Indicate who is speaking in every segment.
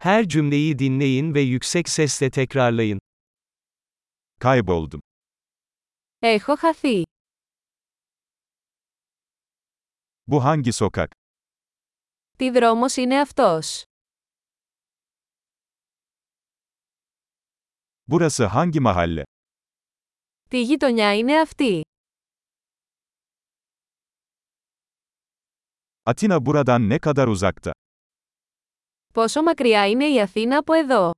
Speaker 1: Her cümleyi dinleyin ve yüksek sesle tekrarlayın.
Speaker 2: Kayboldum.
Speaker 3: Έχω χαθεί.
Speaker 2: Bu hangi sokak?
Speaker 3: Τι δρόμος είναι αυτός.
Speaker 2: Burası hangi mahalle?
Speaker 3: Τι γειτονιά είναι αυτή.
Speaker 2: Atina buradan ne kadar uzakta?
Speaker 3: Πόσο μακριά είναι η Αθήνα από εδώ.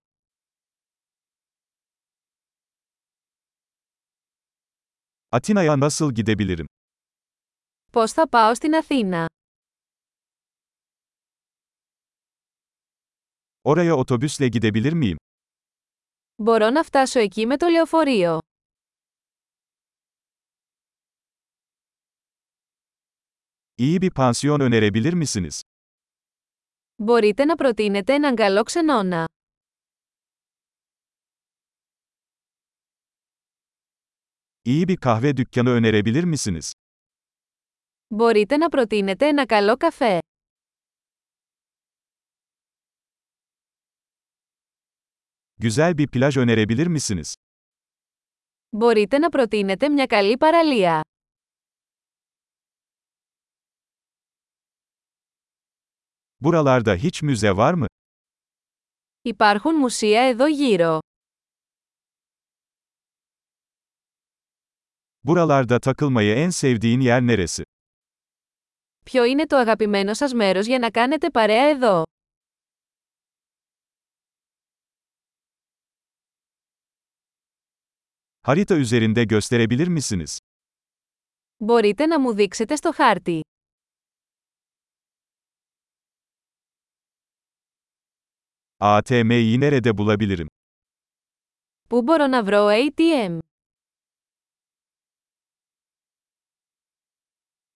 Speaker 2: Atina'ya nasıl gidebilirim?
Speaker 3: Πώς θα πάω στην Αθήνα.
Speaker 2: Oraya otobüsle gidebilir miyim?
Speaker 3: Μπορώ να φτάσω εκεί με το λεωφορείο.
Speaker 2: İyi bir pansiyon önerebilir misiniz?
Speaker 3: Μπορείτε να προτείνετε έναν καλό ξενώνα.
Speaker 2: İyi bir kahve dükkanı önerebilir misiniz?
Speaker 3: Μπορείτε να προτείνετε ένα καλό καφέ.
Speaker 2: Güzel bir plaj önerebilir misiniz?
Speaker 3: Μπορείτε να προτείνετε μια καλή παραλία.
Speaker 2: Buralarda hiç müze var mı?
Speaker 3: Υπάρχουν μουσεία εδώ γύρω.
Speaker 2: Buralarda takılmayı en sevdiğin yer neresi?
Speaker 3: Ποιο είναι το αγαπημένο σας μέρος για να κάνετε παρέα εδώ.
Speaker 2: Harita üzerinde gösterebilir misiniz?
Speaker 3: Μπορείτε να μου δείξετε στο χάρτη.
Speaker 2: ATM'yi nerede bulabilirim?
Speaker 3: Πού μπορώ να βρω ATM.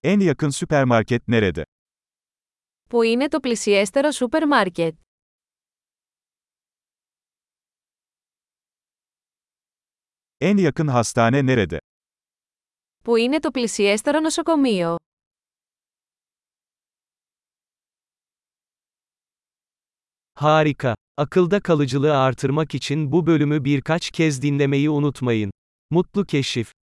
Speaker 2: En yakın süpermarket nerede?
Speaker 3: Πού είναι το πλησιέστερο σούπερ μάρκετ.
Speaker 2: En yakın hastane nerede?
Speaker 3: Πού είναι το πλησιέστερο νοσοκομείο.
Speaker 1: Harika. Akılda kalıcılığı artırmak için bu bölümü birkaç kez dinlemeyi unutmayın. Mutlu keşif.